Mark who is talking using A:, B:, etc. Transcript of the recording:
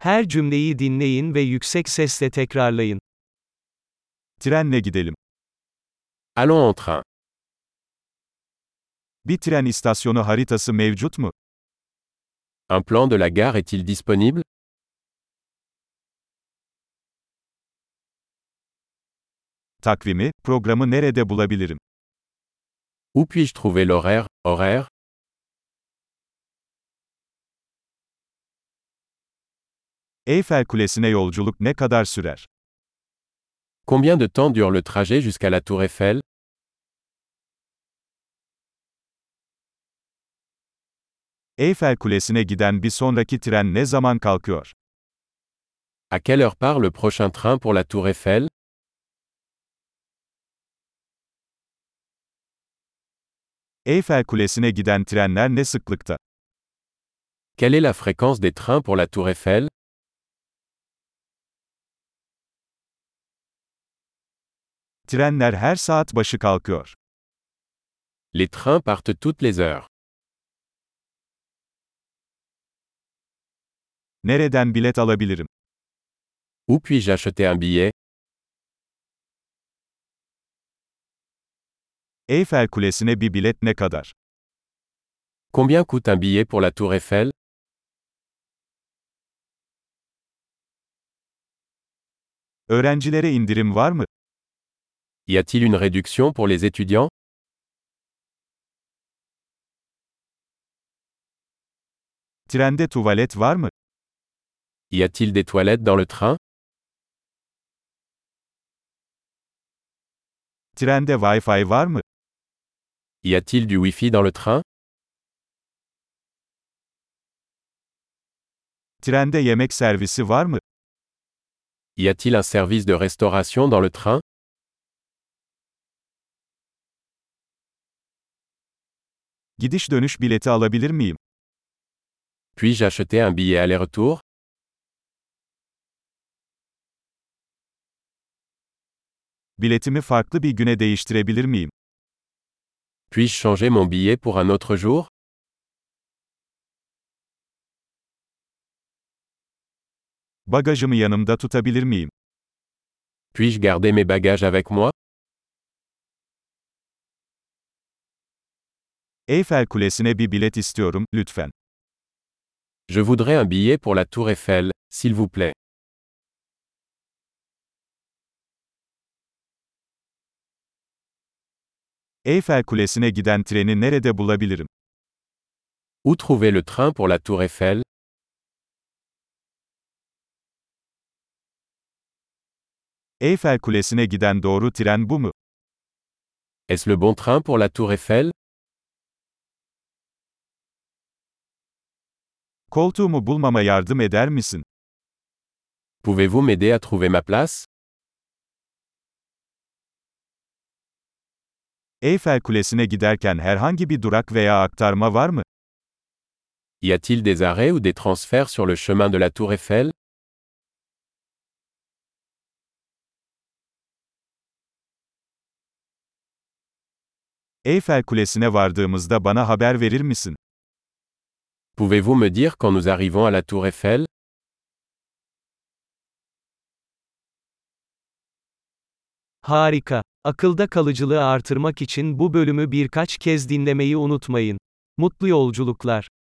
A: Her cümleyi dinleyin ve yüksek sesle tekrarlayın.
B: Trenle gidelim.
C: Allons en train.
B: Bir tren istasyonu haritası mevcut mu?
C: Un plan de la gare est-il disponible
B: Takvimi, programı nerede bulabilirim?
C: Où puis-je trouver l'horaire Horaire
B: Eyfel Kulesi'ne yolculuk ne kadar sürer?
C: Combien de temps dure le trajet jusqu'à la Tour Eiffel
B: Eyfel Kulesi'ne giden bir sonraki tren ne zaman kalkıyor?
C: À quelle heure part le prochain train pour la Tour Eiffel
B: Eyfel Kulesi'ne giden trenler ne sıklıkta?
C: Quelle est la fréquence des trains pour la Tour Eiffel
B: Trenler her saat başı kalkıyor.
C: Les trains partent toutes les heures.
B: Nereden bilet alabilirim?
C: Où puis-je acheter un billet
B: Eyfel Kulesi'ne bir bilet ne kadar?
C: Combien coûte un billet pour la Tour Eiffel
B: Öğrencilere indirim var mı?
C: Y a-t-il une réduction pour les étudiants
B: Trende tuvalet var mı?
C: Y a-t-il des toilettes dans le train
B: Trende Wi-Fi var mı?
C: Y a-t-il du Wi-Fi dans le train
B: Trende yemek servisi var mı?
C: Y a-t-il un service de restauration dans le train
B: Gidiş dönüş bileti alabilir miyim?
C: Puis-je acheter un billet aller-retour
B: Biletimi farklı bir güne değiştirebilir miyim?
C: Puis-je changer mon billet pour un autre jour
B: Bagajımı yanımda tutabilir miyim?
C: Puis-je garder mes bagages avec moi
B: Eyfel Kulesi'ne bir bilet istiyorum, lütfen.
C: Je voudrais un billet pour la Tour Eiffel, s'il vous plaît.
B: Eyfel Kulesi'ne giden treni nerede bulabilirim?
C: Où trouver le train pour la Tour Eiffel
B: Eyfel Kulesi'ne giden doğru tren bu mu?
C: Est-ce le bon train pour la Tour Eiffel
B: Koltuğumu bulmama yardım eder misin?
C: Pouvez-vous m'aider à trouver ma place
B: Eyfel Kulesi'ne giderken herhangi bir durak veya aktarma var mı?
C: Y a-t-il des arrêts ou des transferts sur le chemin de la Tour Eiffel
B: Eyfel Kulesi'ne vardığımızda bana haber verir misin?
C: Pouvez-vous me dire quand nous arrivons à la Tour Eiffel
A: Harika. Akılda kalıcılığı artırmak için bu bölümü birkaç kez dinlemeyi unutmayın. Mutlu yolculuklar.